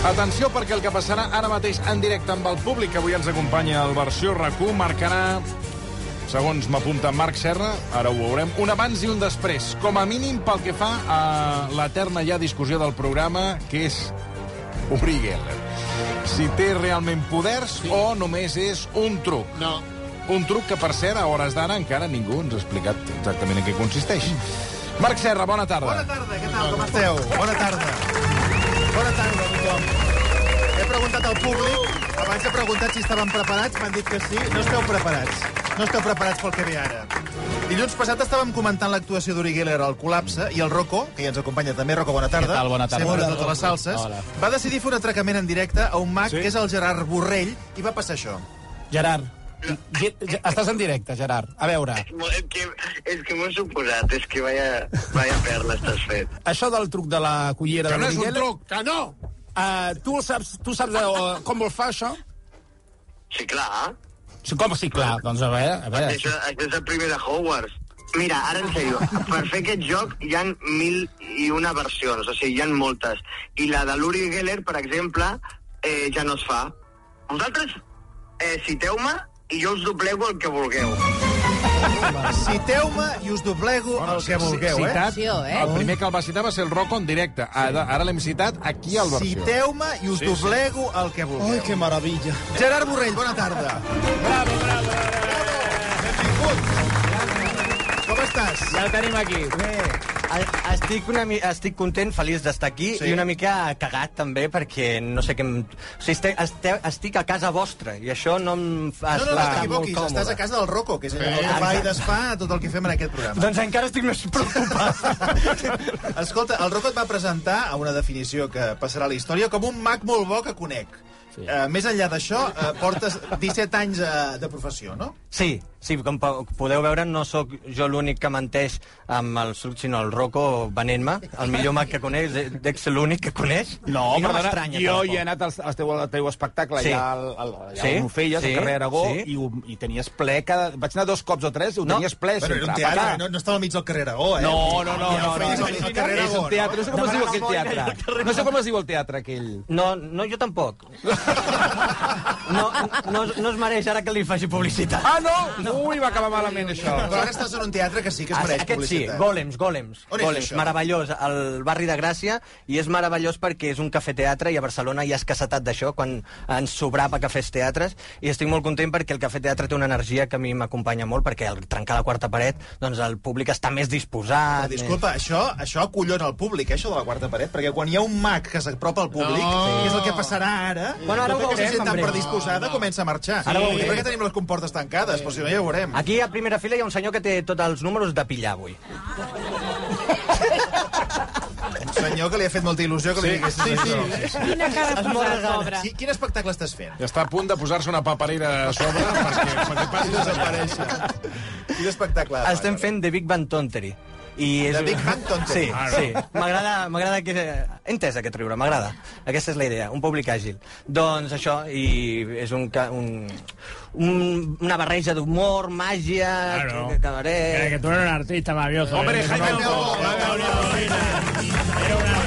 Atenció, perquè el que passarà ara mateix en directe amb el públic que avui ens acompanya al versió RAC1 marcarà, segons m'apunta Marc Serra, ara ho veurem, un abans i un després, com a mínim pel que fa a l'eterna ja discussió del programa, que és obrir guerra. Si té realment poders sí. o només és un truc. No. Un truc que, per cert, a hores d'ara encara ningú ens ha explicat exactament en què consisteix. Marc Serra, bona tarda. Bona tarda, què tal, com esteu? Bona tarda. Bona tarda a tothom. He preguntat al públic, abans he preguntat si estaven preparats, m'han dit que sí. No esteu preparats. No esteu preparats pel que ve ara. Dilluns passat estàvem comentant l'actuació d'Uri Geller al col·lapse i el Rocco, que ja ens acompanya també. Rocco, bona tarda. Què tal? Bona tarda. Sempre Hola, de totes les salses. Hola. Va decidir fer un atracament en directe a un mag, Sí? sí? que és el Gerard Borrell, i va passar això. Gerard, ge- ge- estàs en directe, Gerard. A veure, És que, és que m'ho he suposat, és que vaya, vaya perla estàs fet. això del truc de la cullera... Que de no és un Miguel, truc. Que no! eh, tu, el saps, tu saps de, o, com vol fer això? Sí, clar. Sí, com? Sí, clar. Doncs a veure, a Eh. veure. Això, això és el primer de Hogwarts. Mira, ara en sèrio, per fer aquest joc hi han mil i una versions, o sigui, hi han moltes. I la de l'Uri Geller, per exemple, eh, ja no es fa. Vosaltres eh, citeu-me i jo us doblego el que vulgueu. Citeu-me i us doblego Bueno, el que sí, vulgueu, sí, eh? citat, Versió, eh? El primer que el va citar va ser el Rocco en directe. Ara, ara l'hem citat aquí al versió. Citeu-me i us Sí, sí. sí, doblego sí. el que vulgueu. que meravella. Gerard Borrell, bona tarda. Bravo, bravo, bravo. Benvingut. Com estàs? Ja ho tenim aquí. A- Estic, una, mi- estic content, feliç d'estar aquí Sí. sí. i una mica cagat també perquè no sé què... Em... O sigui, este, este, estic a casa vostra i això no em fa No, no, no estar molt t'equivoquis, còmode. estàs a casa del Rocco, que és el que fa i desfà tot el que fem en aquest programa. Doncs encara estic més preocupat. Escolta, el Rocco et va presentar a una definició que passarà a la història com un mag molt bo que conec. Sí. Uh, més enllà d'això, uh, portes 17 anys uh, de professió, no? sí, sí, com po- podeu veure, no sóc jo l'únic que menteix amb el suc, sinó el Rocco venent-me, el millor mag que coneix, d'ex l'únic que coneix. No, I no perdona, m'estranya, jo tampoc. hi he anat al, al, teu, al teu espectacle, Sí. sí. allà, al, al, allà Sí, on ho feies, sí, al carrer Aragó, sí. sí. i, ho, i tenies ple cada... Vaig anar dos cops o tres i ho No. tenies ple. Bueno, era un sempre. teatre, Va, no, no estava al mig del carrer Aragó, eh? No, no, Ja no, ho no, no, feies no, al mig del carrer és Aragó, un teatre, no sé com es diu Demanar la boina aquell i el teatre. carrer No sé com es diu el teatre aquell. No, no, jo tampoc. No, no, no es mereix ara que li faci publicitat. Ah, no! Ui, va acabar malament, això. Però ara estàs en un teatre que sí que es Ah, mereix Aquest sí, publicitat. Gòlems, Gòlems. On és Gòlems, això? meravellós, al barri de Gràcia, i és meravellós perquè és un cafè-teatre i a Barcelona hi ha escassetat d'això, quan ens sobrava cafès-teatres, i estic molt content perquè el cafè-teatre té una energia que a mi m'acompanya molt, perquè al trencar la quarta paret, doncs el públic està més disposat. Ah, disculpa, això, això acollona el públic, eh, això de la quarta paret, perquè quan hi ha un mag que s'apropa al públic, no. que és el que passarà ara, Bueno, ara ho tota veurem, aquesta gent tan en breu. predisposada comença a marxar. Ara ho I veurem. per què tenim les comportes tancades? Però si no, ja ho veurem. Aquí a primera fila hi ha un senyor que té tots els números de pillar avui. Un senyor que li ha fet molta il·lusió que li diguessis sí, això. Sí, sí. Quina cara posada, pobre. Qui- Quin espectacle estàs fent? I està a punt de posar-se una paperera a sobre perquè, perquè passi desaparèixer. Quin espectacle? Estem fent The Big Bang Tontery. I és... The Big Bang Tontery. Sí, Ah, sí. M'agrada m'agrada que... He entès aquest riure, m'agrada. Aquesta és la idea, un públic àgil. Doncs això, i és un... ca- un, un una barreja d'humor, màgia, Claro. ca- cabaret... Eh, tú eres un artista maravilloso. eh. Hombre, Jaime Calvo. eh?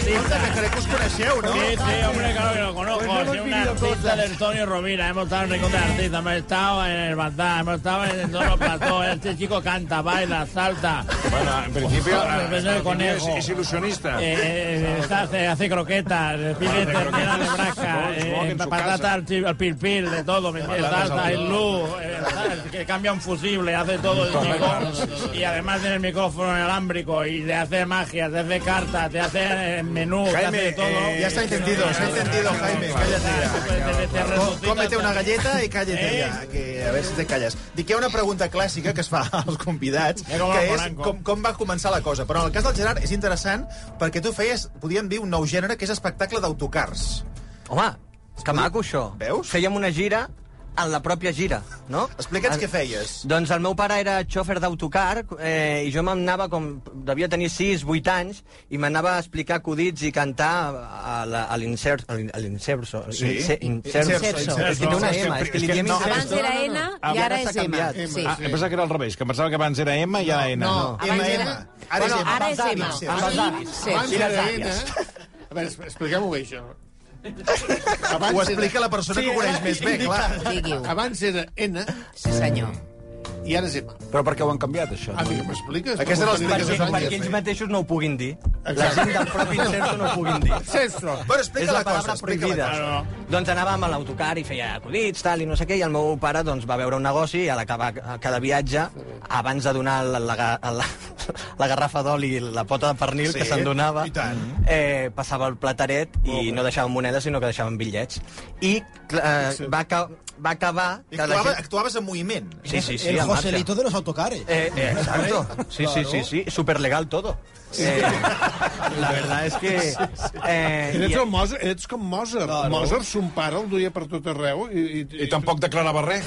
Escolta, que crec que us coneixeu, no? Sí, sí, hombre, claro que Pues lo conozco. soy un artista del Tonio Rovira. Hemos estado en el de artistas, hemos estado en el bandá, hemos estado en todos los platós. Este chico canta, baila, salta, Bueno, en principi, Hombre, pues no hay en principi conejo. és, és il·lusionista. eh, eh, eh, hace, hace croquetas, eh, filete, tela de braca, Supongo que eh, en su patata al chi- al pilpil, de todo, ¿me entiendes? Patatas Salsa, al el luz, eh, tal, que cambia un fusible, hace todo el chico. Y además tiene el micrófono inalámbrico y te hace magia, te hace cartas, te hace eh, menú, te hace Jaime, de todo. eh, Ya se ha entendido, se ha entendido, Jaime, cállate Te- te- te Com- resucita, Cómete una te- galleta i calla't Eh? allà, que a veure si te calles. Dic, hi ha una pregunta clàssica que es fa als convidats, Mira com que va és Polanco. com, com va començar la cosa. Però en el cas del Gerard és interessant perquè tu feies, podríem dir, un nou gènere que és espectacle d'autocars. Home, que maco, això. Veus? Fèiem una gira en la pròpia gira, no? Explica'ns Ah, què feies. Doncs el meu pare era xòfer d'autocar eh, i jo m'anava com... Devia tenir 6, 8 anys i m'anava a explicar acudits i cantar a la- a l'incer- a l'in- a l'incerso. Sí. Ince- Incerso. Incerso. És que té una M, és que li diem No, Abans incerso. era N i ara s'ha és M. canviat. Sí. Ah, em pensava que era al revés, que em pensava que abans era M i ara N. No, Abans M, M. era- Ara és Bueno, M. Ara és M. Amb els I avis. Cerso. I les àvies. A veure, expliquem-ho bé, això. Ho explica la persona que ho coneix més bé, clar. Digui-ho. Abans era N Sí, senyor. i ara és M. Però per què ho han canviat, això? Ah, mira, m'expliques? Aquesta era Perquè, l'explicació. perquè ells mateixos no ho puguin dir. La gent del propi inserto no ho puguin dir. Sestro. Bueno, És explica la la cosa, paraula explica la prohibida. cosa. Doncs anàvem a l'autocar i feia acudits, tal, i no sé què, i el meu pare doncs, va veure un negoci i a l'acabar cada viatge, abans de donar la, la, la, la garrafa d'oli i la pota de pernil Sí, que se'n donava, i tant. eh, passava el plateret i no deixaven monedes, sinó que deixaven bitllets. I cl- eh, va, ca va acabar... I que la Actuava, gent- actuaves en moviment. Sí, sí, sí, el en marxa. Joselito de los autocares. Eh, eh, exacto. Sí, sí, sí, sí. Superlegal todo. Eh, la verdad es que... Eh, Ets, y- el Mozart, ets com Mozart. Claro. Mozart, son pare, el duia per tot arreu. I, i, I tampoc declarava res.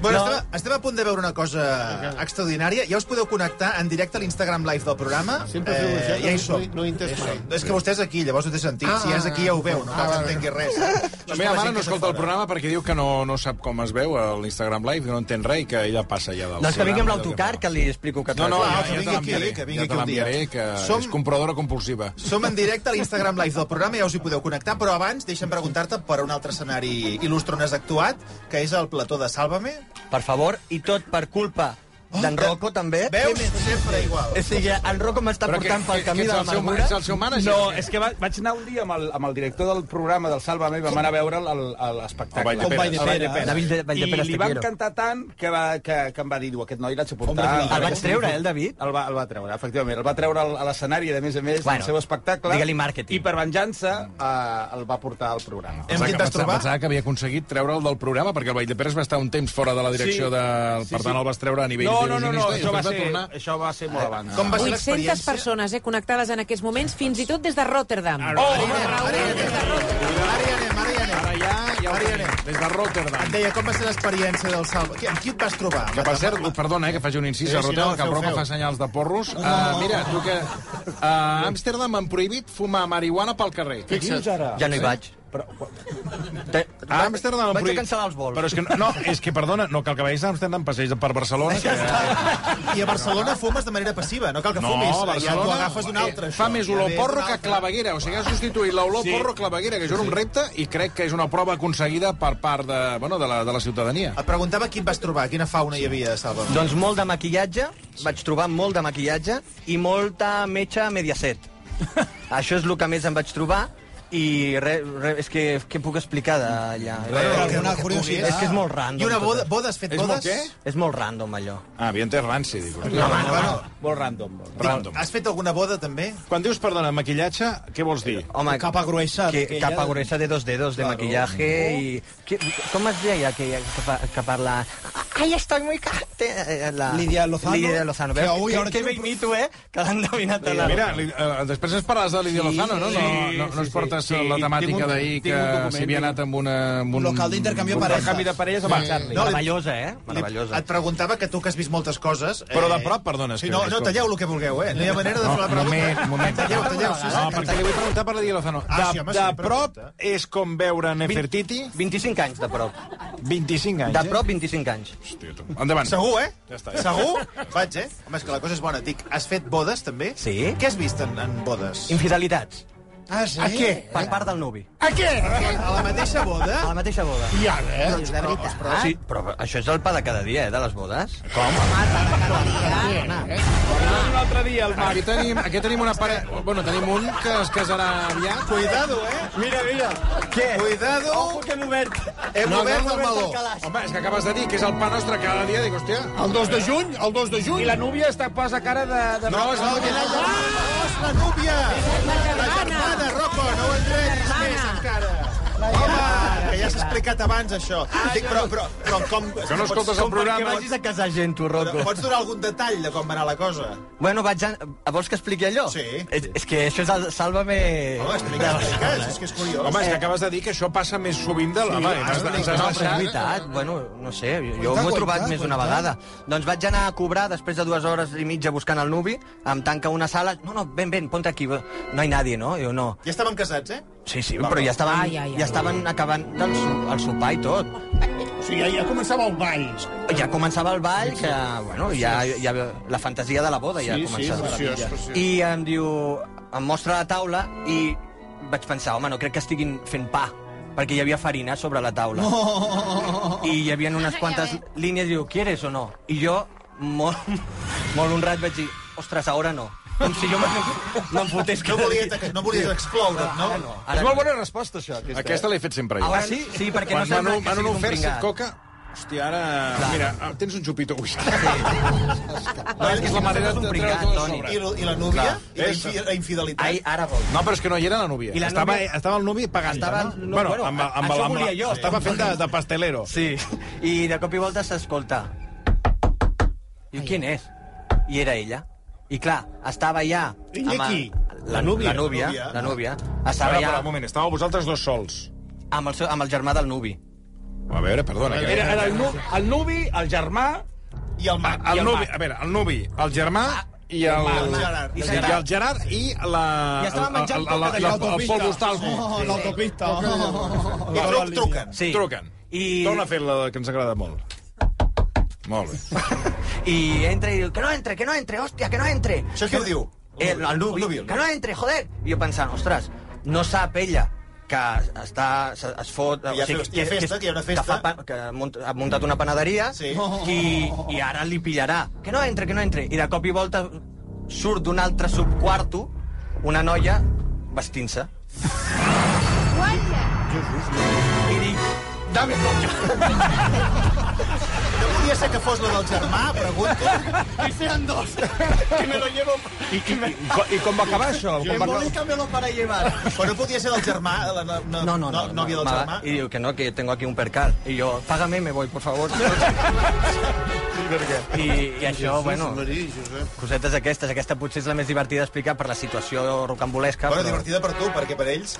Bueno, no. estem, estem a punt de veure una cosa extraordinària. Ja us podeu connectar en directe a l'Instagram Live del programa. Eh, Sempre feu això, ja no- hi som. no- no he entès mai. No, És que vostè és aquí, llavors ho té sentit. Ah, si és aquí ja ho veu, no cal que ah, entengui res. La meva mare no escolta el programa perquè diu que no, no sap com es veu a l'Instagram Live, que no entén res i que ella passa ja del... doncs que vingui programa, amb del l'autocar, fa. que li explico que... No, no, Ah, ja, ja que vingui te aquí, l'enviaré, que vingui ja aquí te un dia. l'enviaré, que Som- és compradora compulsiva. Som en directe a l'Instagram Live del programa, ja us hi podeu connectar, però abans deixa'm preguntar-te per un altre escenari il·lustre on has actuat, que és el plató de Sálvame. Per favor, i tot per culpa Oh, d'en Rocco, també. Veus? Sempre igual. O sigui, en Rocco m'està Però portant pel camí que ets de la el seu, l'amargura. és el seu mànager? No, és que va, vaig anar un dia amb el, amb el director del programa del Sálvame i vam anar a veure el- el- El Vall l'espectacle. de Peres. El Vall de Peres. David de- Vall de Peres, te I li va quiero. encantar tant que, va, que, que em va dir, "Du, aquest noi l'haig de Hombre, portar. claro. El vaig treure, eh, el Ah, David? El va, el va treure, efectivament. El va treure al- a l'escenari, i, a més a Bueno, més, bueno, del seu espectacle. digue-li màrqueting. I per venjança eh, el va portar al programa. Hem qui t'has trobat? Pensava que havia aconseguit treure'l del programa, perquè el Vall de Peres va estar un temps fora de la direcció Sí. de... Sí, Per sí. tant, el vas treure a nivell No, no, no, no, il·lusionista i això va, després va ser, tornar... això va ser molt abans. Com va ser 800 l'experiència? persones eh, connectades en aquests moments, fins i tot des de Rotterdam. Ara hi anem, ara hi anem, ara hi anem. Ara ja, ja ho Ara hi anem. tenim, des de Et Rotterdam. deia, com va ser l'experiència del Salva? Qui- Amb qui et vas trobar? Que, per cert, perdona, eh, que faci un incís Sí, a sí, Rotel, no, que el feu, Broca feu. fa senyals de porros. Uh, mira, tu que... A Amsterdam han prohibit fumar marihuana pel carrer. Fixa't. Ja no hi vaig. Te- A Amsterdam han Vaig a prohibit- cancel·lar els vols. Però és que, no, no, és que, perdona, no cal que vagis a Amsterdam, passeig per Barcelona. Que... I a Barcelona fumes de manera passiva, no cal que No, fumis. Ja Barcelona Eh, t'ho agafes d'un altre, fa més olor porro que claveguera. O sigui, ha substituït l'olor Sí. porro claveguera, que jo era un repte, i crec que és una prova aconseguida per part de, bueno, de, la, de la ciutadania. Et preguntava qui et vas trobar, quina fauna hi havia, Salva. Doncs molt de maquillatge, vaig trobar molt de maquillatge i molta metge mediaset. Això és el que més em vaig trobar i re, re, és que què puc explicar d'allà? alguna curiositat. És que és molt random. I una boda, tot eh. boda has fet eh, És molt bodes? què? això. És molt random, allò. Ah, havia entès ranci, dic. Ah, Bueno, Molt random. Molt. random. Random. has fet alguna boda, també? Quan dius, perdona, maquillatge, què vols dir? Home, Capa gruesa. que, d'aquella capa de- gruesa de dos dedos de maquillaje i... Que, com es deia que, que, fa- que parla... Ai, estoy muy caliente. La... Lidia Lozano. Lidia Lozano. Que Veus? avui Que, ara que, que té un- benito, eh? Que l'han devinat a la... Mira, li, eh, després ens parles de Lidia Lozano, no? No, no, no ens sí, portes sí. la Sí, tinc temàtica un- d'ahir tinc que un document, s'hi havia tinc un- anat amb, una, amb un... Local d'intercanvi de El parelles. canvi de parelles amb el Charlie. No, li- Meravellosa, eh? Meravellosa. Et preguntava que tu, que has vist moltes coses... eh, Però de prop, perdona, és Sí, que- no, no, talleu el que vulgueu, eh? No hi ha manera de fer la No, pregunta. moment, moment. Talleu, talleu, No, Susan. Ah, perquè li vull preguntar per la Lidia Lozano. De, Ah, sí, home, sí, de pregunta. prop és com veure Nefertiti, 25 anys, de prop. 25 anys. eh? De prop, 25 anys. Hòstia, tu. Endavant. Segur, eh? Ja està, ja. Segur? Vaig, eh? Home, és que la cosa és bona. Dic, has fet bodes, també? Sí. Què has vist en, en bodes? Infidelitats. Ah, sí? A què? Per part del nuvi. A la mateixa boda? A la mateixa boda. I ara, eh? Doncs de veritat. Sí, però això és el pa de cada dia, eh, de les bodes. Un altre dia, el Aquí tenim, aquí tenim una pare... Bueno, tenim un que es casarà aviat. Cuidado, eh? Mira, mira. Què? Cuidado. Ojo que hem obert. Hem obert el meló. Home, és que acabes de dir que és el pa nostre cada dia. Dic, hòstia... El 2 de juny, el 2 de I juny... la núvia està posa cara de... de... No, és el... Ah, és la núvia! La germana, Rocco, no ho entreguis més, encara. Home, que ja s'ha explicat abans, això. Dic, però, però, però com... Que no escoltes el Que programa. vagis a casar gent, tu, Però Rocco. Pots donar algun detall de com va anar la cosa? Bueno, vaig a... Vols que expliqui allò? Sí. És, és que això és el Sálvame... Home, explica, explica, és que és curiós. Home, és que acabes de dir que això passa més sovint de la... Sí, ens, ens No, has però és deixat... veritat, bueno, no sé, jo, jo Cuenta, m'ho he trobat cuenta, més d'una cuenta. vegada. Doncs vaig anar a cobrar, després de dues hores i mitja buscant el nuvi, em tanca una sala, no, no, ven, ven, ponte aquí, no hi nadie, no? Jo, no, Ja estàvem casats, eh? Sí, sí, però ja estaven, Ai, ai, ai. ja estaven acabant el, so- el sopar i tot. O sigui, ja, ja començava el ball. Ja començava el ball, que, bueno, ja, ja la fantasia de la boda ja Sí, sí, començava. preciós, preciós. I em diu... Em mostra la taula i vaig pensar, home, no crec que estiguin fent pa, perquè hi havia farina sobre la taula. I hi havia unes quantes línies, diu, ¿quieres o no? I jo, molt, molt honrat, vaig dir, ostres, ara no. Com si jo me no em fotés No cada dia. volies, no volies explodre't, no? no. Ara És molt bona resposta, això. Aquesta, Aquesta eh? l'he fet sempre jo. Ara sí? Sí, perquè Quan no m'han sembla que m'han sigui un ofert pringat. coca... Hòstia, ara... Mira, ah, tens un xupito whisky. No, és, és la manera de un treure pringat, tot Toni. sobre. I, la- I la núvia? Clar, I la, és- infi la eh? infidelitat? Ai, ara vol. No, però és que no hi era la núvia. I la estava, núvia- estava el nuvi pagant. Estava el- no? no, Bueno, bueno, amb, amb, això amb, amb, volia jo. estava fent de, de pastelero. Sí, i de cop i volta s'escolta. I quin és? I era ella. I clar, estava ja... I amb qui? el- La, núvia. La núvia, la núvia. Estava Ara, però, un ja moment, estàveu vosaltres dos sols. amb el, seu, amb el germà del nuvi. A veure, perdona. que- Era, era el, nu, el nubi, el germà... I el mag. Ah, el, i el nuvi, Marc. a veure, el nuvi, el germà i el, el Gerard. I, el, i el Gerard i la... I estava el, menjant el, el, el, el, el Pol Bustalco. Oh, l'autopista. I truc, truquen. Sí. Truquen. I- Torna a fer la que ens agrada molt. Molt bé. I entra i diu, que no entre, que no entre, hòstia, que no entre. Això què ho diu? El, el nuvi, nuvi, el que no entre, joder. I jo pensant, ostres, no sap ella que està, se- es fot... hi ha fes- hi ha festa, que hi ha una festa. Que, fa, pan- que ha munt- ha muntat una panaderia Sí. i, i ara li pillarà. Que no entre, que no entre. I de cop i volta surt d'un altre subquarto una noia vestint-se. I dic, dame coca. No podia ser que fos la del germà, pregunto. Que sean dos. Que me lo llevo. I, i, i, com- i com va acabar això? Que Com va acabar? me lo para llevar. Però no podia ser del germà, la, la, la No, no, no. no, nòvia del ma- germà. Y digo que no, que tengo aquí un percal. Y yo, págame, me voy, por favor. I, i això, bueno, cosetes aquestes. Aquesta potser és la més divertida d'explicar per la situació rocambolesca. Bueno, però- divertida per tu, perquè per ells...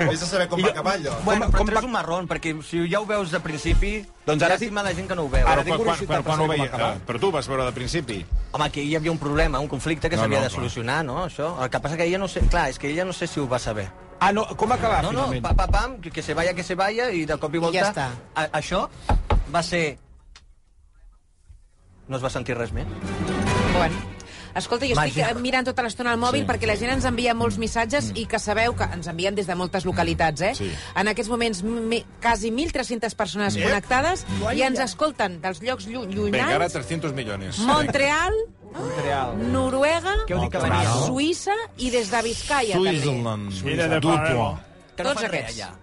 Vés a saber com va acabar allò. Bueno, però Com- com com va- és un marrón, perquè si ja ho veus de principi, Doncs ara llàstima la gent que no ho veu. Ara Però tinc quan, quan, curiositat quan, per quan ho saber com veia? acabar. Ah, però tu ho vas veure de principi. Home, que hi havia un problema, un conflicte que No, s'havia no, de clar. solucionar, no, això? El que passa que ella no sé... Clar, és que ella no sé si ho va saber. Ah, no, com va acabar, No, no, finalment? pa, pa, pam, que, que se vaya, que se vaya, i de cop i volta... ja està. A, això va ser... No es va sentir res més. Bueno. Escolta, jo estic Màgia. eh, mirant tota l'estona al mòbil sí. perquè la gent ens envia molts missatges i que sabeu que ens envien des de moltes localitats, eh? Sí. En aquests moments, mi, quasi 1.300 persones connectades i ens escolten dels llocs llu Vinga, ara llunyans. 300 milions. Montreal, Montreal. Noruega, Què heu dit que venia? Suïssa i des de Vizcaya, també. Switzerland. Dupo. Que no Tots fan res aquests. allà.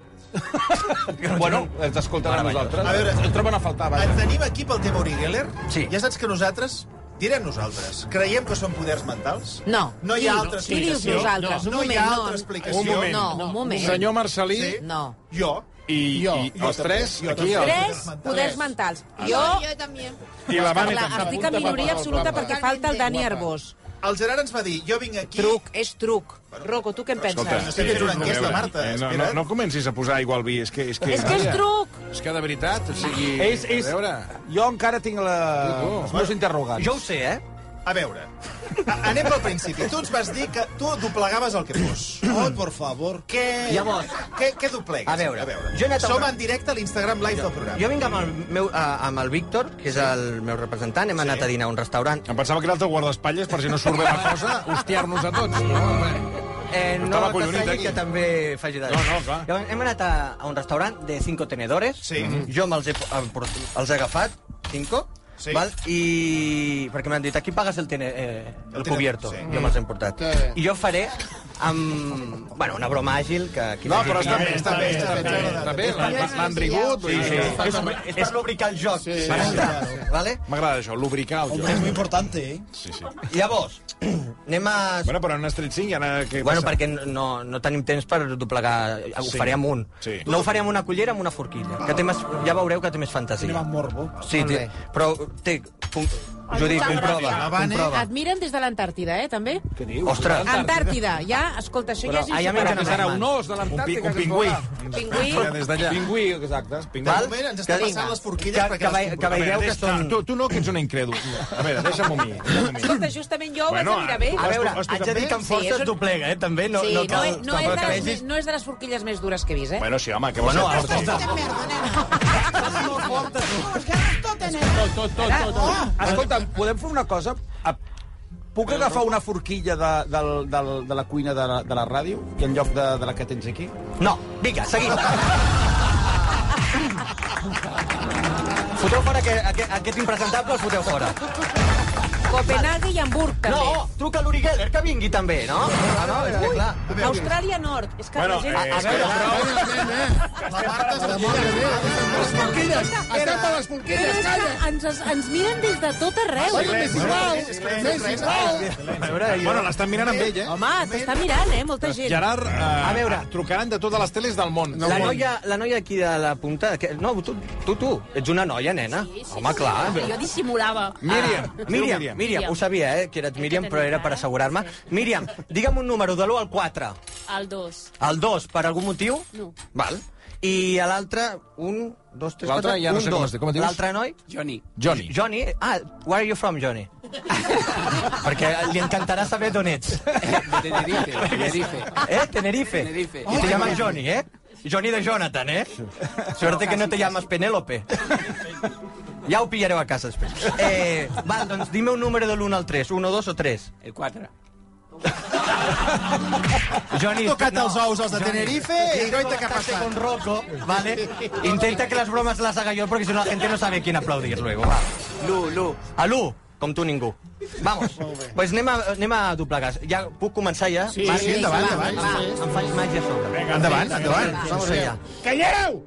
Bueno, ens escolten a nosaltres. A veure, ens troben a faltar, vaja. Et tenim aquí pel tema Uri Geller. Sí. Ja saps que nosaltres, direm nosaltres, creiem que són poders mentals? No. No hi Qui? ha altra Qui dius explicació. nosaltres? No, hi Un moment, ha no. altra explicació. Un moment. No, un moment. Senyor Marcelí Sí. No. Jo. i, Jo. i els tres, Jo aquí, també. el, Tres poders mentals. Jo, yo también. i la Vane clar, també. estic en minoria absoluta perquè falta el Dani Arbós. El Gerard ens va dir, jo vinc aquí... Truc, és truc. Rocco, tu què en Escolta, penses? Estic fent una enquesta, a veure, Marta, eh, no, no, espera't. no comencis a posar aigua al vi, és que... És que, És que és truc! És que de veritat, o sigui... És, és... A veure... Jo encara tinc la... Tu, tu. els meus interrogants. Jo ho sé, eh? A veure, a- anem pel principi. Tu ens vas dir que tu doblegaves el que fos. Oh, por favor. Què... Llavors. Què, què doblegues? A veure, a veure. jo he anat a Som una- en directe a l'Instagram Live del programa. Jo vinc amb el, meu, eh, amb el Víctor, que és el meu representant, hem anat a dinar a un restaurant. Em pensava que era el teu guardaespatlles per si no surt bé la cosa, hostiar-nos a tots. No, home. Eh, no Estava t'estranyi acollonit, aquí. que també faci de... No, no, clar. Llavors, hem anat a, a un restaurant de cinco tenedores. Mhm. Sí. Jo me'ls he, em port- els he agafat, cinco, Sí. val? i perquè m'han dit, aquí pagues el, tene, eh, el, El tene- cubierto. sí. Jo me'ls he emportat. Sí. I jo faré amb... Bueno, una broma àgil que... Aquí No, però està bé, està bé, està bé. Està bé, l'han- l'han rigut. vull dir que- És, és per lubricar el joc. Sí, sí, Vale? M'agrada això, lubricar el Es joc. muy importante, ¿eh? Sí, sí. Llavors, anem a... Bueno, però n'has tret cinc i ara què Bueno, passa? perquè no, no tenim temps per doblegar... Ho Sí. faré amb un. Sí. No ho faré amb una cullera, amb una forquilla. Que té més, ja veureu que té més Tiene fantasia. más morbo. Sí, té, però té... Com, Judit, comprova, comprova. Et miren des de l'Antàrtida, eh, també? Ostres, ah, Antàrtida, ja, escolta, això ja és allà insuperable. mengen Serà un os de Un, pi, l'Antàrtica. un que es pingüí. veurà. Pingüí. Mira, Des d'allà. Pingüí, exacte. Pingüí. val? moment ens està passant les forquilles que, perquè que, les vei- que A veure, veieu que deixa- són... Ah, tu, tu no, que ets un incrèdul. A veure, deixa'm a mi. Deixa'm a mi. Escolta, justament jo ho vaig Bueno, a mirar bé. A veure, Has tocat haig de dir bé? que amb força Sí, és es un- doblega, eh, també. No, Sí, no, no, cal, no, és tampoc de que les, vegis- més- no és de les forquilles més dures que he vist, eh? Bueno, sí, home, que vols Bueno, ser? ara està. Escolta, podem fer una cosa? A- Puc agafar una forquilla de, del, del, de la cuina de la, de la ràdio i en lloc de, de la que tens aquí? No, vinga, seguim. foteu fora aquest, aquest, aquest impresentable, el foteu fora. Copenhague i Hamburg, també. No, truca a l'Uri Geller, que vingui també, no? Ah, no, és que clar. Austràlia Nord. És que Bueno, la gent... eh, A veure, La Marta està mirant. Les porquilles! Escapa les porquilles, calla! ens, ens miren des de tot arreu. Ai, m'és igual! M'és igual! a veure, jo... Bueno, l'estan mirant amb ell, eh? Home, t'està mirant, eh? Molta gent. Gerard, eh, A veure. trucaran de totes les teles del món. La noia, la noia aquí de la punta... Que, no, tu, tu, tu, ets una noia, nena. Sí, sí, Home, clar. Jo dissimulava. Ah, Ah. Míriam. es diu Míriam, Míriam, Míriam, ho sabia, eh, que eres Míriam, però era per assegurar-me. Míriam, digue'm un número de l'1 al 4. El 2. El 2, per algun motiu? No. Val. I a l'altre, un, dos, tres, L'altre quatre, ja no un, sé com dos. es diu, com et dius? L'altre noi? Johnny. Johnny. Johnny? Ah, where are you from, Johnny? Perquè li encantarà saber d'on ets. De Tenerife, Tenerife. Eh, Tenerife. Tenerife. I te llamas Johnny, eh? Johnny de Jonathan, eh? Suerte que no te llamas Penélope. Ja ho pillareu a casa després. Eh, val, doncs dime un número de l'1 al 3. 1, 2 o 3? El 4. Johnny, Has tocat els ous, els de Tenerife, i goita que ha contacte passat. con Rocco, ¿vale? Intenta que las bromas las haga yo porque si no la gente no sabe quién aplaudir luego. Va. Lu, Lu. Alú, com tu ningú. Vamos. pues anem a, anem a doblegar. Ja puc començar ja? Sí, sí, endavant, endavant. Va, em faig màgia a sobre. Endavant, endavant. Vamos allá. Calleu!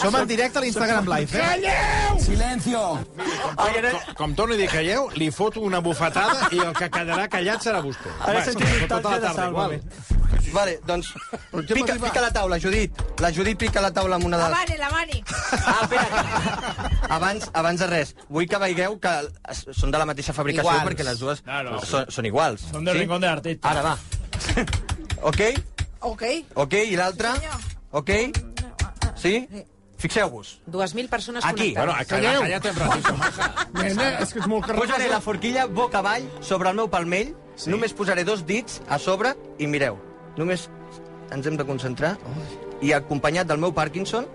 Som en directe a l'Instagram Live, eh? Calleu! Silencio. Com, com, com torno a dir calleu, li foto una bufetada i el que quedarà callat serà vostè. Ara sentim escolta, tota un la talge de tarda, Sálvame. igual. Vale, doncs, què pica, m'arriba? pica la taula, Judit. La Judit pica la taula amb una de La les... mani, la mani. Ah, espera. Abans, abans de res, vull que veigueu que es- són de la mateixa fabricació Iguals. perquè les dues No, no. Són, són iguals. Són del rincón de artista. Ara va. ok? Ok. Ok, i l'altra? Ok? Sí? Fixeu-vos. 2.000 persones Aquí. Bueno, a connectades. callar, callat en ratíssim. Nena, és que és molt carrer. Posaré la forquilla boca avall sobre el meu palmell, sí. només posaré dos dits a sobre i mireu, només ens hem de concentrar i acompanyat del meu Parkinson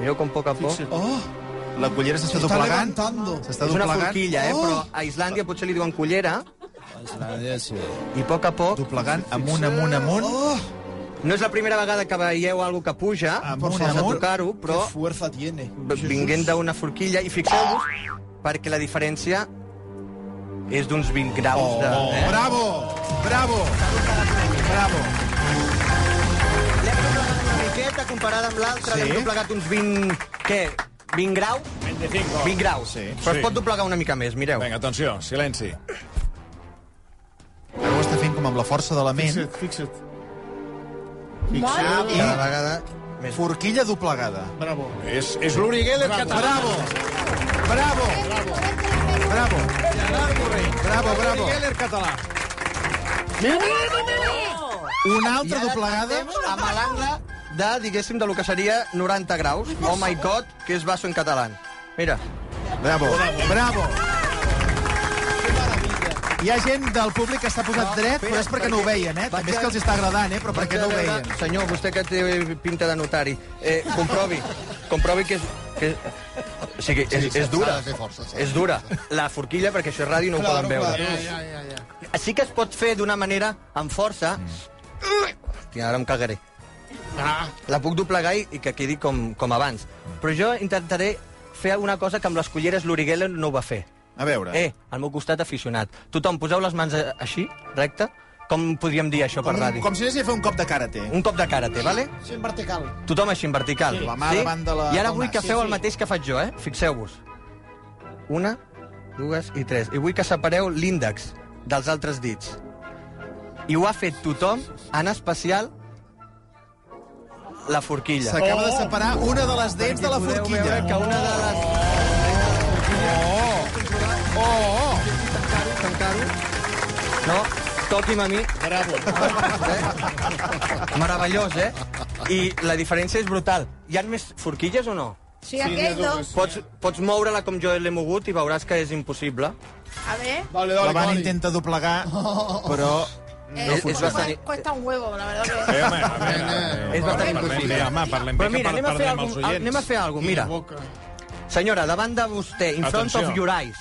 mireu com a poc a poc Oh, la cullera s'està doblegant. S'està és una doblegant. Oh! forquilla, eh? però a Islàndia potser li diuen cullera i a poc a poc Doblegant amunt, amunt, amunt. no és la primera vegada que veieu algo que puja Amunt, sense amunt. tocar-ho, però fuerza tiene. vinguent d'una forquilla i fixeu-vos perquè la diferència és d'uns 20 graus de... eh? Oh, Bravo, bravo, bravo. L'hem doblegat una miqueta comparada amb l'altra, Sí. l'hem doblegat uns 20... què? 20 graus? 25. 20 graus. Sí. Però Sí. es pot doblegar una mica més, mireu. Vinga, atenció, silenci. Ara ho està fent com amb la força de la ment. Fixa't, fixa't. I Cada vegada... Més. forquilla doblegada. Bravo. És, és l'Uri Geller català. Bravo, bravo, bravo. Bravo, Uri bravo. Geller català. Una altra doblegada. Amb l'angle de, diguéssim, de lo que seria 90 graus. Oh my god, que és basso en català. Mira. Bravo, bravo. Hi ha gent del públic que s'ha posat dret, però és perquè no ho veien, eh? També és que els està agradant, eh? Però perquè no ho Vaig a veien. veure- Senyor, vostè que té pinta de notari, eh, comprovi, comprovi que és... Que, o sigui, és, és dura. És dura. La forquilla, perquè això és ràdio i no ho poden veure. Sí que es pot fer d'una manera amb força. Mm. Hòstia, ara em cagaré. Ah. La puc doblegar i, i que quedi com, com abans. Mm. Però jo intentaré fer una cosa que amb les culleres l'Uriguela no ho va fer. A veure. Eh, al meu costat aficionat. Tothom, poseu les mans a- així, recte. Com podríem dir això per ràdio? Com si anessin a fer un cop de karate. Un cop de karate, vale? Sí, en vertical. Tothom així en vertical. Sí. La mà davant de la- I ara del vull nas. que Sí, feu sí. el mateix que faig jo, eh? Fixeu-vos. Una, dues i tres. I vull que separeu l'índex dels altres dits. I ho ha fet tothom, en especial la forquilla. Oh! S'acaba de separar una de les dents de la Podeu veure que forquilla. una de les... Oh! Oh! Tancar-ho, tancar-ho. No, toqui'm a mi. Bravo. Eh? Meravellós, eh? I la diferència és brutal. Hi ha més forquilles o no? Sí, aquell dos. Pots, pots moure-la com jo l'he mogut i veuràs que és impossible. A ver, Dale, La dale, van Coni. intentar doblegar, però... Oh, eh, es- es bastante- cuesta un huevo, la verdad que... Eh, home, a veure, eh, És bastant parlem bé, impossible. home, parlem bé, Però que mira, per- anem a fer perdem els algun, oients. anem a fer alguna cosa, mira. Boca. Senyora, davant de vostè, in front Atenció. of your eyes,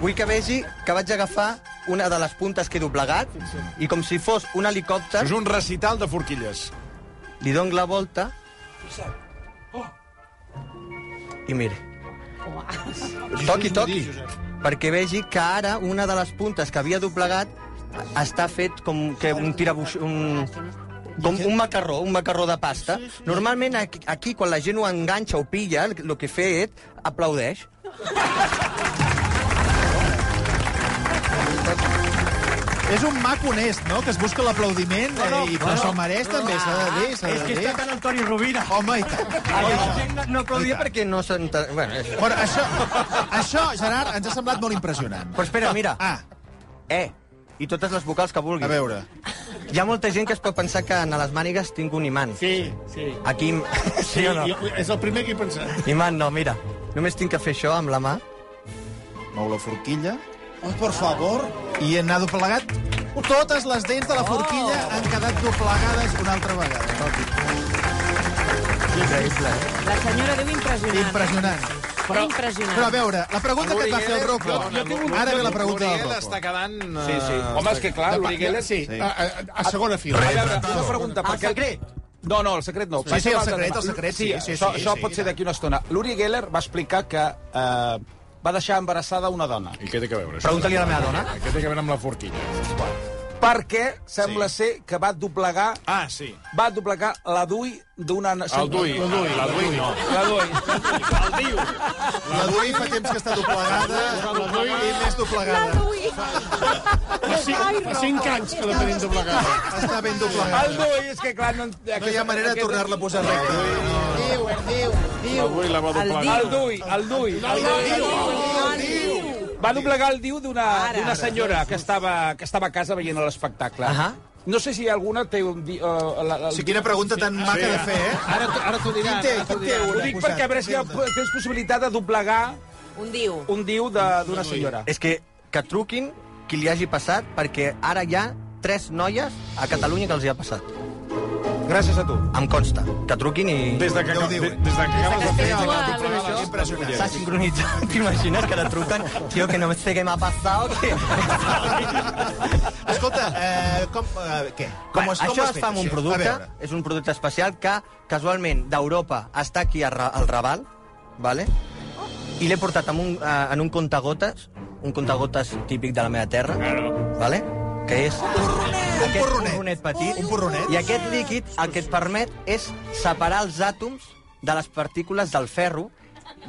Vull que vegi que vaig agafar una de les puntes que he doblegat i com si fos un helicòpter... És un recital de forquilles. Li dono la volta... I mire. Toqui, toqui. Perquè vegi que ara una de les puntes que havia doblegat està fet com que un tirabuix... Un, com un macarró, un macarró de pasta. Normalment aquí, aquí quan la gent ho enganxa o pilla, el que he fet, aplaudeix. És un mac honest, no?, que es busca l'aplaudiment Bueno, eh, i per bueno. això mereix, també, s'ha de dir, s'ha de És que dir. està tant el Toni Rovira. Home, i tant. La gent no- no aplaudia perquè no s'entén... Bueno, és... Bueno, això, això, Gerard, ens ha semblat molt impressionant. Però espera, mira. Ah. E. I totes les vocals que vulgui. A veure. Hi ha molta gent que es pot pensar que en les mànigues tinc un imant. Sí, sí. Aquí... Sí o no? jo- és el primer que he pensat. Imant no, mira. Només tinc que fer això amb la mà. Mou la forquilla. Oh, por favor. I anar doblegat. Totes les dents de la forquilla Oh! han quedat doblegades una altra vegada. Increïble. La senyora diu impressionant. Impressionant. Però, impressionant. Però a veure, la pregunta que et va fer el Rocco... Ara ve la pregunta del L'Uriel està Rocco. quedant... eh, Sí, sí. Home, és que clar, De pa- l'Origuela sí. A, a, a segona fila. A veure, una pregunta. Per què... No, no, el secret no. Sí, Per sí, què el vas secret, demanar- el secret, sí, sí, això, sí, això sí, pot ser d'aquí una estona. L'Uri Geller va explicar que eh, va deixar embarassada una dona. I què té que veure, això? Pregunta-li a la meva dona. Ah, Què té que veure amb la forquilla? Perquè sembla ser que va doblegar Ah, sí. va doblegar la dui d'una... El Dui. La Dui, la Dui no. La dui. La Dui fa temps que està doblegada i més doblegada. Fa cinc, fa cinc anys que la tenim doblegada. Està ben doblegada. El dui, és que clar... No, No hi ha manera de tornar-la a posar recta. Diu, diu, diu. Avui la va doblar. El dui, el dui. El dui. Va doblegar el diu d'una Ara. d'una senyora que estava, que estava a casa veient l'espectacle. Ahà. No sé si alguna té un... di- eh, la- la- Sí, quina pregunta tan maca de fer, eh? Ara, ara t'ho Qui diran. té, ara qui t'ho té diran. Ho una dic posada? perquè a veure si hi ha- tens possibilitat de doblegar Un diu. un diu de- d'una senyora. És que que truquin qui li hagi passat, perquè ara hi ha tres noies a Catalunya que els hi ha passat. Gràcies a tu. Em consta. Que truquin i... Des de que, Ja ho acab- diu, de- eh? des de que acabes de fer... Fes-ho a la- Impressionant. S'ha sincronitzat. T'imagines que ara truquen? Tio, que no sé què m'ha passat. Que... Escolta, eh, com, eh, què? Com, Bueno, has- com això has es fet, fa amb un això? producte, A veure. és un producte especial que casualment d'Europa està aquí a Ra- al Raval, vale? i l'he portat en un, eh, en un contagotes, un contagotes típic de la meva terra, vale? que és aquest porronet. porronet petit. Un porronet. I aquest líquid el que et permet és separar els àtoms de les partícules del ferro,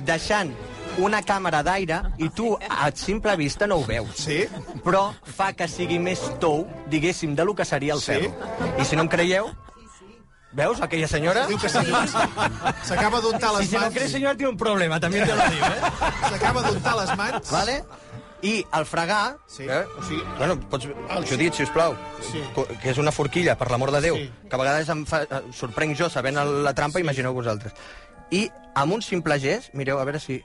deixant una càmera d'aire i tu a simple vista no ho veus Sí? però fa que sigui més tou, diguéssim, de lo que seria el Sí? ferro. I si no em creieu... Veus, aquella senyora? Diu que sí. S'acaba d'untar I les si no em creus, mans. senyora, té un problema, també te lo dic, eh? S'acaba d'untar les mans. Vale? I al fregar... Sí. Eh? O sigui, Ah, Bueno, pots... Judit, sisplau, sí. que és una forquilla, per l'amor de Déu, sí. que a vegades em fa... eh, sorprenc jo sabent el- la trampa, sí. imagineu vosaltres. I amb un simple gest, mireu, a veure si...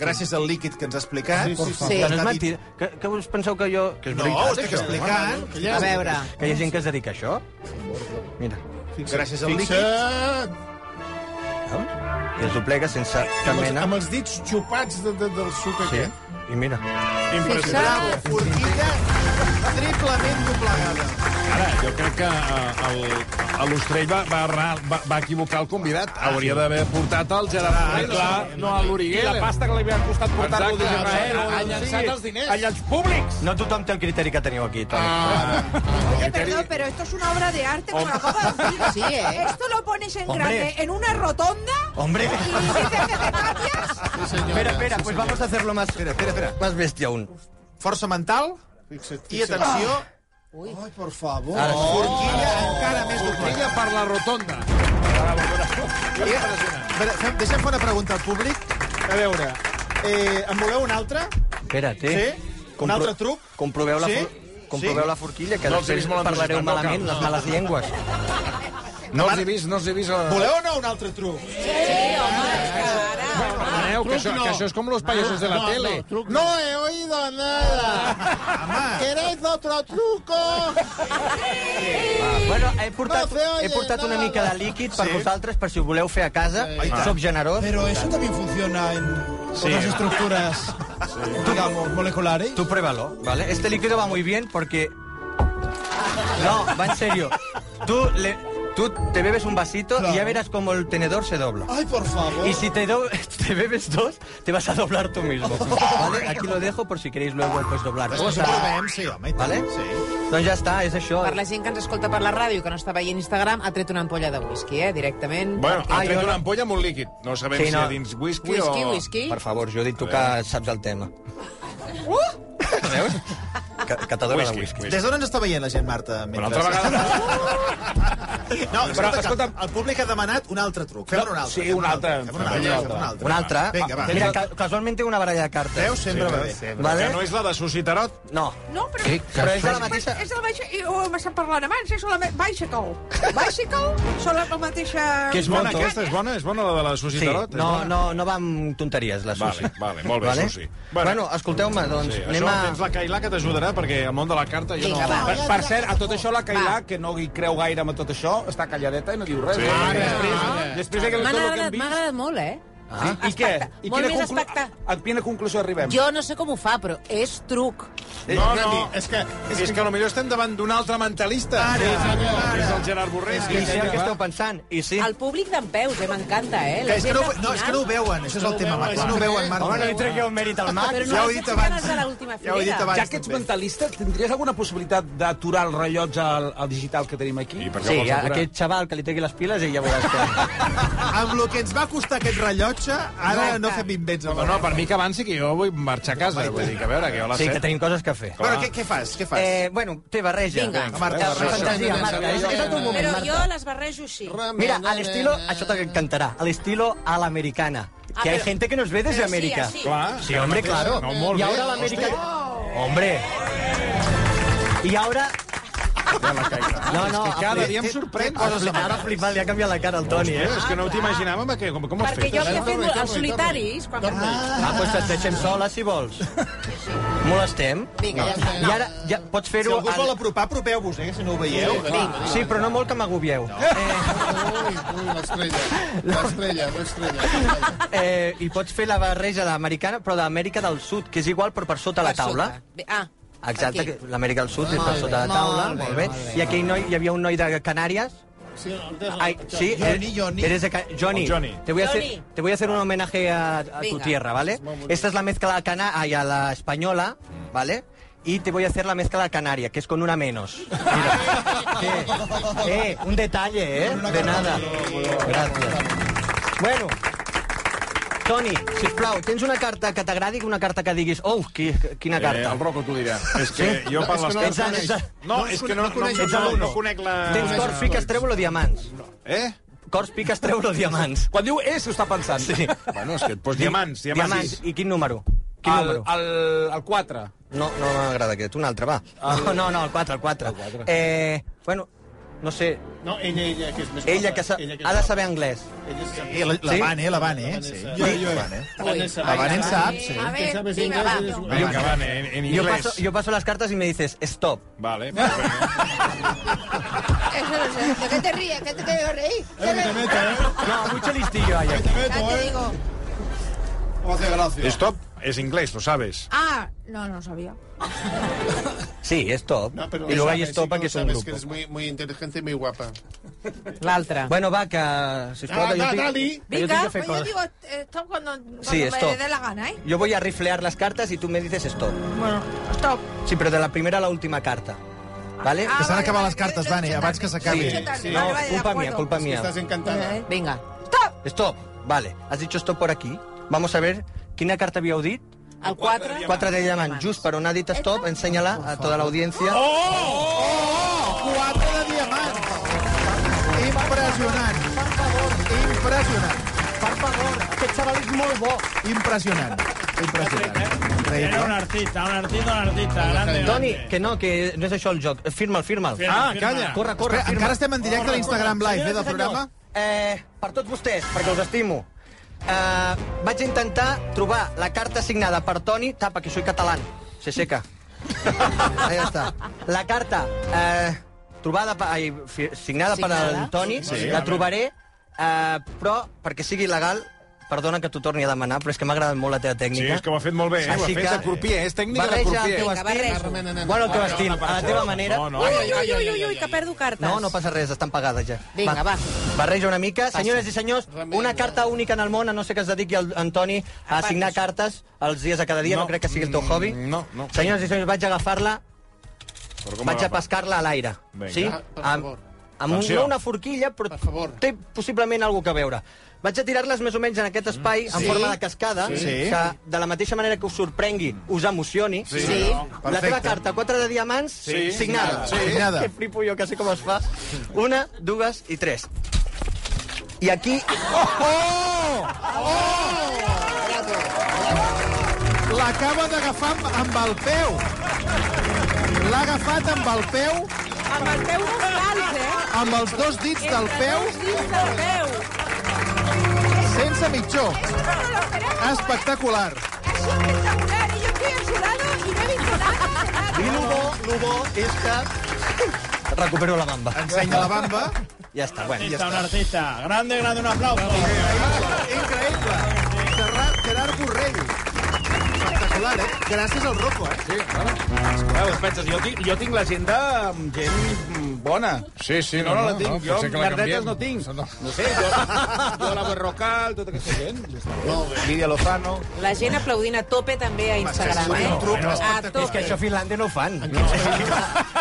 gràcies al líquid que ens ha explicat. Sí, sí, sí. Sí. Que no és mentida. Que, que us penseu que jo... Que és No, veritat, estic això? explicant. A veure. Que hi ha gent que es dedica a això? Mira. Gràcies al líquid. Fixa't. Veus? I es doblega sense cap Amb els, mena. amb els dits xupats de, de, del suc Sí. aquest. I mira. Bravo, forquilla triplement doblegada. Ara, jo crec que eh, el, el l'Ostrell va, va, errar- va, va equivocar el convidat. Hauria d'haver portat el Gerard Piqué, clar, no a I l'Origuera. la pasta que li havia costat portar-lo Exacte, des d'Israel. ha- ha o- llançat sí, els diners. A llanç públics. No tothom té el criteri que teniu aquí, Toni. Oye, perdón, pero esto es una obra de arte, como acabo de decir. Sí, eh. Esto lo pones en Hombre. grande, en una rotonda, Hombre. y dices que te cambias. Espera, espera, pues vamos a hacerlo más... Espera, espera, espera. Más bestia aún. Força mental Fixa't, i atenció. Ui, oh, por favor. Ara sí. Forquilla encara més doblegada. per la rotonda. I- A veure, fem- Deixem fer una pregunta al públic. A veure, eh, en voleu una altra? Espera't, Sí? eh? Un altre truc? Comproveu la, Sí? for... Comproveu Sí? la forquilla, que No no els he després vist molt parlareu entusiasmat, no cal. malament les males llengües. No els he vist, no els he vist. eh. Voleu o no un altre truc? Perdoneu, que, això, que això és com los payasos de la Ah, no, tele. No, truc, No he oído nada. ¿Queréis otro truco? Ah, bueno, he portat, No se oye he portat una nada. mica de líquid per vosaltant vosaltres, per si ho voleu fer a casa. Ah, i tant. Soc generós. Pero eso también funciona en... Sí. Otras estructuras, digamos, moleculares. Tú pruébalo, ¿vale? Este líquido va muy bien porque... No, va en serio. Tú, le- tú te bebes un vasito y ya verás cómo el tenedor se dobla. Ay, por favor. Y si te, do- te bebes dos, te vas a doblar tú mismo. ¿Vale? Aquí lo dejo por si queréis luego pues, doblar. Després ho provem, sí, home, i tant. Vale? Sí. Doncs ja està, és això. Per la gent que ens escolta per la ràdio, que no està veient Instagram, ha tret una ampolla de whisky, eh, directament. Bueno, ha Perquè- Ah, tret jo no. una ampolla amb un líquid. No sabem Sí, si no. hi ha dins whisky, Whisky, o... whisky. Per favor, Judi, tu que saps el tema. Uh! Veus? Que, que t'adora el Whisky, whisky. whisky. Des d'on ens està veient la gent, Marta? Una altra vegada... Eh? No, però, escolta, el públic ha demanat un altre truc. Fem un altre. Sí, fem un altre. Fem un altre. Fem un altre. Un altre. Vinga, va. Mira, ca- casualment té una baralla de cartes. Veus? Sempre va bé. Que Vale? no és la de Suscitarot? No. No, però... Que- que Però és de la Però és, mateixa... és la baixa... I ho hem estat parlant abans, és la ma- bicycle. Bicycle són la, la mateixa... Que és Bona bona, aquesta, és bona? És bona la de la Sí, Suscitarot? És no, bona? no, no va amb tonteries, la Vale, Susi. vale, molt bé, Susi. Bueno. Bueno, bueno escolteu-me, doncs, Sí, anem això a... tens la Cailà que t'ajudarà, perquè el món de la carta jo Vinga, no... va. Per, per cert, a tot això la Cailà, que no hi creu gaire amb tot això, està calladeta i no diu res. Sí. Ara, Ara, Després, després de M'ha tot el que hem agradat, m'ha vist... agradat molt, eh? Sí, I què? I Molt més conclu- espectac- a, a quina conclusió arribem? Jo no sé com ho fa, però és truc. No, no, és que, Eh, és, que, potser estem davant d'un altre mentalista. Ara, sí, senyor, que és el Gerard Borrell. I sé el que esteu pensant, i sí. El públic d'en Peus, eh? M'encanta, eh? La Que és que gent no, al no, és que no ho final. veuen, això és el tema, Marta. No ho veuen, Marta. Home, no li tregueu mèrit al mag. Però no Ja ho has he dit fet abans. ganes de l'última Ja ho he filera. dit abans. Ja que ets també. mentalista, tindries alguna possibilitat d'aturar el rellotge al, al digital que tenim aquí? I per què Sí, ho vols a- aturar? aquest xaval que li tregui les piles i ja veuràs que... Amb el que ens va costar aquest rellotge, ara no fem invents. No, no, per mi que avanci, que jo vull marxar a casa. Vull dir que a veure, que jo a les Sí, que set... tenim coses que fer. Bueno, què, què fas? Què fas? Eh, bueno, té barreja. Vinga. Marta, Marta, barreja. fantasia, Marta. És, és el teu moment, Però jo Marta. les barrejo així. Mira, al estilo, això t'encantarà, al estilo a l'americana. Ah, Que hay però- gente que nos ve desde però sí, América. així. Clar. Sí, hombre, claro. No, molt y bé. ahora la América... Hombre. Y ahora... No, no, que cada dia em sorprèn. Ara flipa- Ara flipat, li ha canviat la cara al Toni, eh? Eh, És que no ho t'imaginaves, home, que com, com has Perquè fet? eh? jo això? que fem els solitaris, quan fem... Ah, doncs pues et deixem sola, si vols. Molestem. Vinga, ja està. I ara ja pots Si fer-ho... algú us al- vol apropar, apropeu-vos, eh, que si no ho veieu. Sí, però no molt que m'agobieu. Ui, ui, Eh, l'estrella. L'estrella, l'estrella. Eh, I pots fer la barreja d'americana, però d'Amèrica del Sud, que és igual, però per sota la taula. Bé, Ah, Exacte, aquí. que l'Amèrica del Sud és per sota de la taula, molt bé. I aquell noi, hi havia un noi de Canàries, Ay, sí, Johnny, eres- Johnny. Eres de Ca- Johnny. O Oh, Johnny. Te voy a Johnny. hacer, te voy a hacer un homenaje a, a tu Venga. tierra, ¿vale? Esta es la mezcla cana ay, a la española, ¿vale? Y te voy a hacer la mezcla canaria, que es con una menos. Mira. Sí. Eh, un detalle, ¿eh? De nada. Gracias. Bueno, Toni, sisplau, tens una carta que t'agradi, una carta que diguis, oh, qui, quina Eh, carta. el Rocco t'ho dirà. És que jo per les Ets, cartes... ets, No, és que no, no, ets no, alumne. no conec la... tens cors fiques, treu-lo diamants. Eh? Cors piques, treu-lo diamants. Quan diu és, ho està pensant. Sí. Bueno, és que et pos diamants, diamants. I quin número? Quin El, número? el, el 4. No, no m'agrada aquest, un altre, va. No, no, no, el 4, el 4. Eh, bueno, no sé, No, ella, ella, que és més ella que, sa... ella que ha de saber anglès. Ella sap. Eh, la, la Sí? van, eh, la van, eh. Sí. Jo, La van, eh. Ui. La van en sap, sí. Que A veure, sabes vinga, inglés, va. eres un- Vinga, va, en, en Jo anglès. passo, jo passo les cartes i me dices stop. Vale, perfecte. Eso no sé. ¿De qué te ríes? ¿Qué te quedo reír? ¿Qué te- No, mucho listillo hay aquí. Ya te digo. Stop es inglés, lo sabes. Ah, no, no sabía. Sí, stop. No, pero I lo luego hay sabes, stop sí que que lo és un sabes, que grup. eres muy, muy inteligente y muy guapa. L'altre. Bueno, va, que... Sisplau, que jo tinc, que jo Vinga, tinc que fer Pues yo coses. digo stop cuando, cuando Sí, me stop. dé la gana, ¿eh? Jo voy a riflear les cartes i tu me dices stop. Bueno, stop. Sí, però de la primera a la última carta. Vale? Ah, Que s'han vale, acabat vale, les cartes, lo he Vani, hecho abans tarde, que s'acabi. lo he hecho tarde, Sí. vale, No, vale, de culpa mía, acuerdo. culpa mía. Estás encantada. Vale. Vinga. Stop. Stop. Vale, has dicho stop por aquí. Vamos a ver quina carta havíeu dit. El 4... Quatre de diamants. Just per on ha dit stop, ensenya-la a tota l'audiència. Quatre de diamants. Impressionant. Per favor. Impressionant. Per favor, aquest xaval és molt bo. Impressionant. Impressionant. Era un Increïble. artista, un artista, un artista. Grande, Toni, grande. que no, que no és això el joc. Firma'l, firma'l. Firma, Ah, firma. calla. Corre, corre, Espera, firma. encara estem en directe a l'Instagram Live, eh, del Senyores i programa? senyors, Eh, per tots vostès, perquè us estimo. Eh, vaig intentar trobar la carta signada per Toni Tapa, que soy catalán. Se seca. Ahí està. La carta eh, trobada per, ai, fi- signada, signada per Signada. el Toni, sí, la trobaré, eh, però perquè sigui legal, Perdona que t'ho torni a demanar, però és que m'ha agradat molt la teva Sí, tècnica. és que ho ha fet molt bé, eh? Ho ha Així fet que- de crupier, és tècnica de Barreja crupier. el teu estil. Barreja. Bueno, el teu estil, a la teva manera. No, no. Ui, ui, ui, ui, ui, ui, que perdo cartes. No, no passa res, estan pagades ja. Vinga, va. Barreja una mica. Senyores i senyors, una carta única en el món, a no sé que es dediqui el Antoni a assignar cartes els dies a cada dia, no, crec que sigui el teu hobby. No, no. Senyores i senyors, vaig a agafar-la, Però com vaig a agafa? pescar-la a l'aire. Vinga. Sí? Ah, per favor. Amb, amb un, Atenció. no una forquilla, però té possiblement alguna cosa a veure. Vaig a tirar-les més o menys en aquest espai, en Sí. forma de cascada, Sí. que de la mateixa manera que us sorprengui, us emocioni. Sí. Sí. La teva Perfecte. carta, quatre de diamants, Sí. signada. Sí. Signada. Que flipo jo, que sé com es fa. Una, dues i tres. I aquí... Oh, oh! L'acaba d'agafar amb, amb el peu. L'ha agafat amb el peu, Amb el teu descalç, eh? amb els dos dits del peu, Dos dins del peu. sense mitjó. Espectacular. Espectacular, y yo estoy a su lado y no he visto nada. I el bo, el bo és que... Recupero la bamba. Ensenya la bamba. Ja està, bueno, ja Artista, un està. artista. Grande, grande, un aplauso. Increïble. Gerard, Gerard Borrell. Espectacular, eh? Gràcies al Rocco, eh? Sí, claro. Clar, doncs penses, jo, tinc, jo tinc l'agenda amb gent mm, bona. Sí, sí, no, no, la tinc. jo potser que la merdetes canviem. no tinc. No, sé, jo, jo la Berrocal, tota aquesta gent. Ja està. Lídia Lozano. La gent aplaudint a tope també a Instagram, eh? A És que tope. això a Finlàndia no ho fan. No.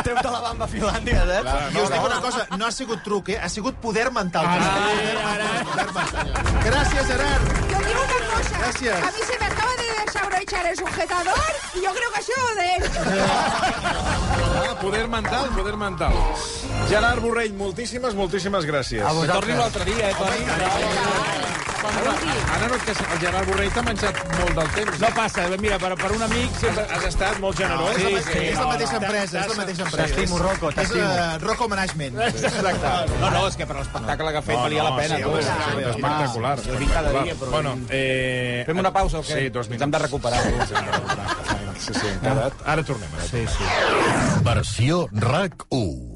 Treu-te la bamba a Finlàndia, eh? Clar, I us dic una cosa, Ah, no Ah, ha sigut truc, eh? Ha sigut poder mental. Poder mental. Gràcies, Gerard. Yo digo una cosa. Gracias. A mí se me acaba de desabrochar el sujetador y yo creo que ha sido de él. Ah, poder mental, poder mental. Gerard Borrell, moltíssimes, moltíssimes gràcies. A vosaltres. Torni l'altre dia, eh, Toni? Ara no et cas... El Gerard Borrell t'ha menjat molt del temps. Ah, No passa, mira, per, per un amic sempre... Has estat molt generós. és, amb la, aquest. és la mateixa empresa, és la mateixa empresa. T'estimo, Rocco, t'estimo. És eh, Rocco Management. No, no, és que per l'espectacle que ha fet No, valia la no, pena. sí, tu. Ah, home, sí, Home, espectacular, Jo vinc cada dia, espectacular. però... Bueno, eh, Fem una pausa o què? Sí, dos Ens hem de minuts. recuperar. Sí, sí, hem quedat. Ara tornem. Ara tornem. Versió RAC 1.